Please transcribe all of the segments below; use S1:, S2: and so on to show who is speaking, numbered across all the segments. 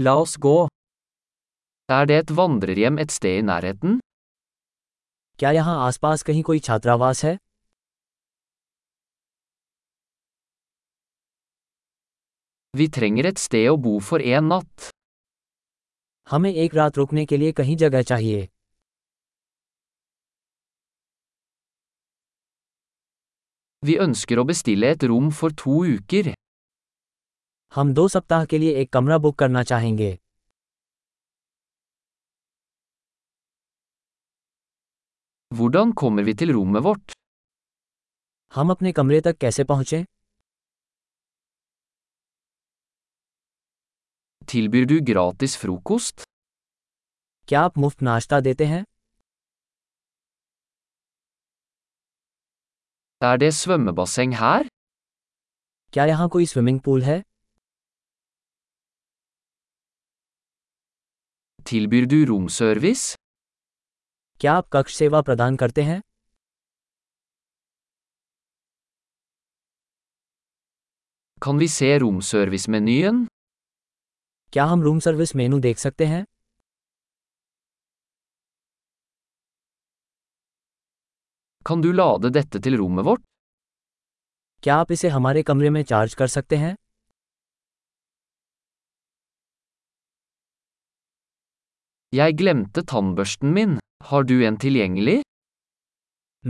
S1: La oss gå. Er det et vandrerhjem et sted i nærheten?
S2: क्या यहाँ आसपास कहीं कोई छात्रावास है
S1: Vi trenger et sted å bo for en natt.
S2: हमें एक रात रुकने के लिए कहीं जगह चाहिए
S1: Vi ønsker å bestille et rom for to uker.
S2: हम दो सप्ताह के लिए एक कमरा बुक करना चाहेंगे
S1: Hvordan kommer vi til rommet vårt?
S2: हम अपने कमरे तक कैसे पहुँचें
S1: Tilbyr du gratis frokost?
S2: क्या आप मुफ्त नाश्ता देते हैं
S1: Er det svømmebasseng her?
S2: क्या यहाँ कोई स्विमिंग पूल है
S1: Tilbyr du romservice?
S2: क्या आप कक्ष सेवा प्रदान करते हैं
S1: Kan vi se romservice-menyen?
S2: क्या हम रूम सर्विस मेनू देख सकते हैं
S1: Kan du lade dette til rommet vårt?
S2: क्या आप इसे हमारे कमरे में चार्ज कर सकते हैं
S1: Jeg glemte tannbørsten min. Har du en tilgjengelig?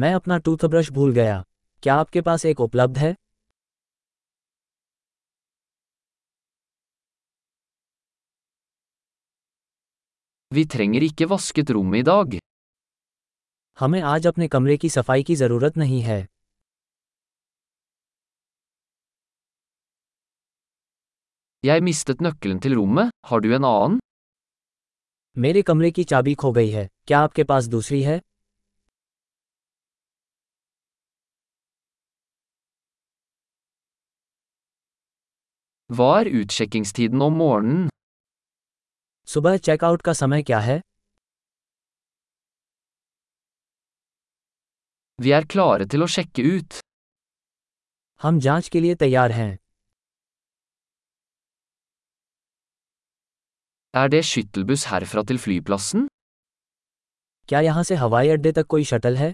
S2: मैं अपना टूथब्रश भूल गया क्या आपके पास एक उपलब्ध है
S1: Vi trenger ikke vasket rommet i dag.
S2: हमें आज अपने कमरे की सफाई की ज़रूरत नहीं है
S1: Jeg mistet nøkkelen til rommet. Har du en annen?
S2: मेरे कमरे की चाबी खो गई है क्या आपके पास दूसरी है
S1: Hva er utsjekkingstiden om morgenen?
S2: सुबह चेकआउट का समय क्या है
S1: Vi er klare til å sjekke ut.
S2: हम जांच के लिए तैयार हैं
S1: Er det skyttelbuss herfra til flyplassen?
S2: क्या यहाँ से हवाई अड्डे तक कोई शटल है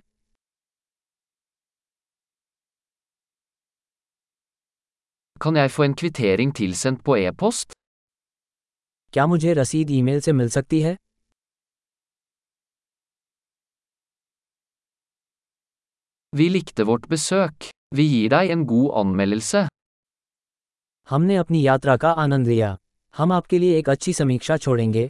S1: Kan jeg få en kvittering tilsendt på e-post?
S2: क्या मुझे रसीद ईमेल से मिल सकती है
S1: Vi likte vårt besøk. Vi gir deg en god anmeldelse.
S2: हमने अपनी यात्रा का आनंद लिया हम आपके लिए एक अच्छी समीक्षा छोड़ेंगे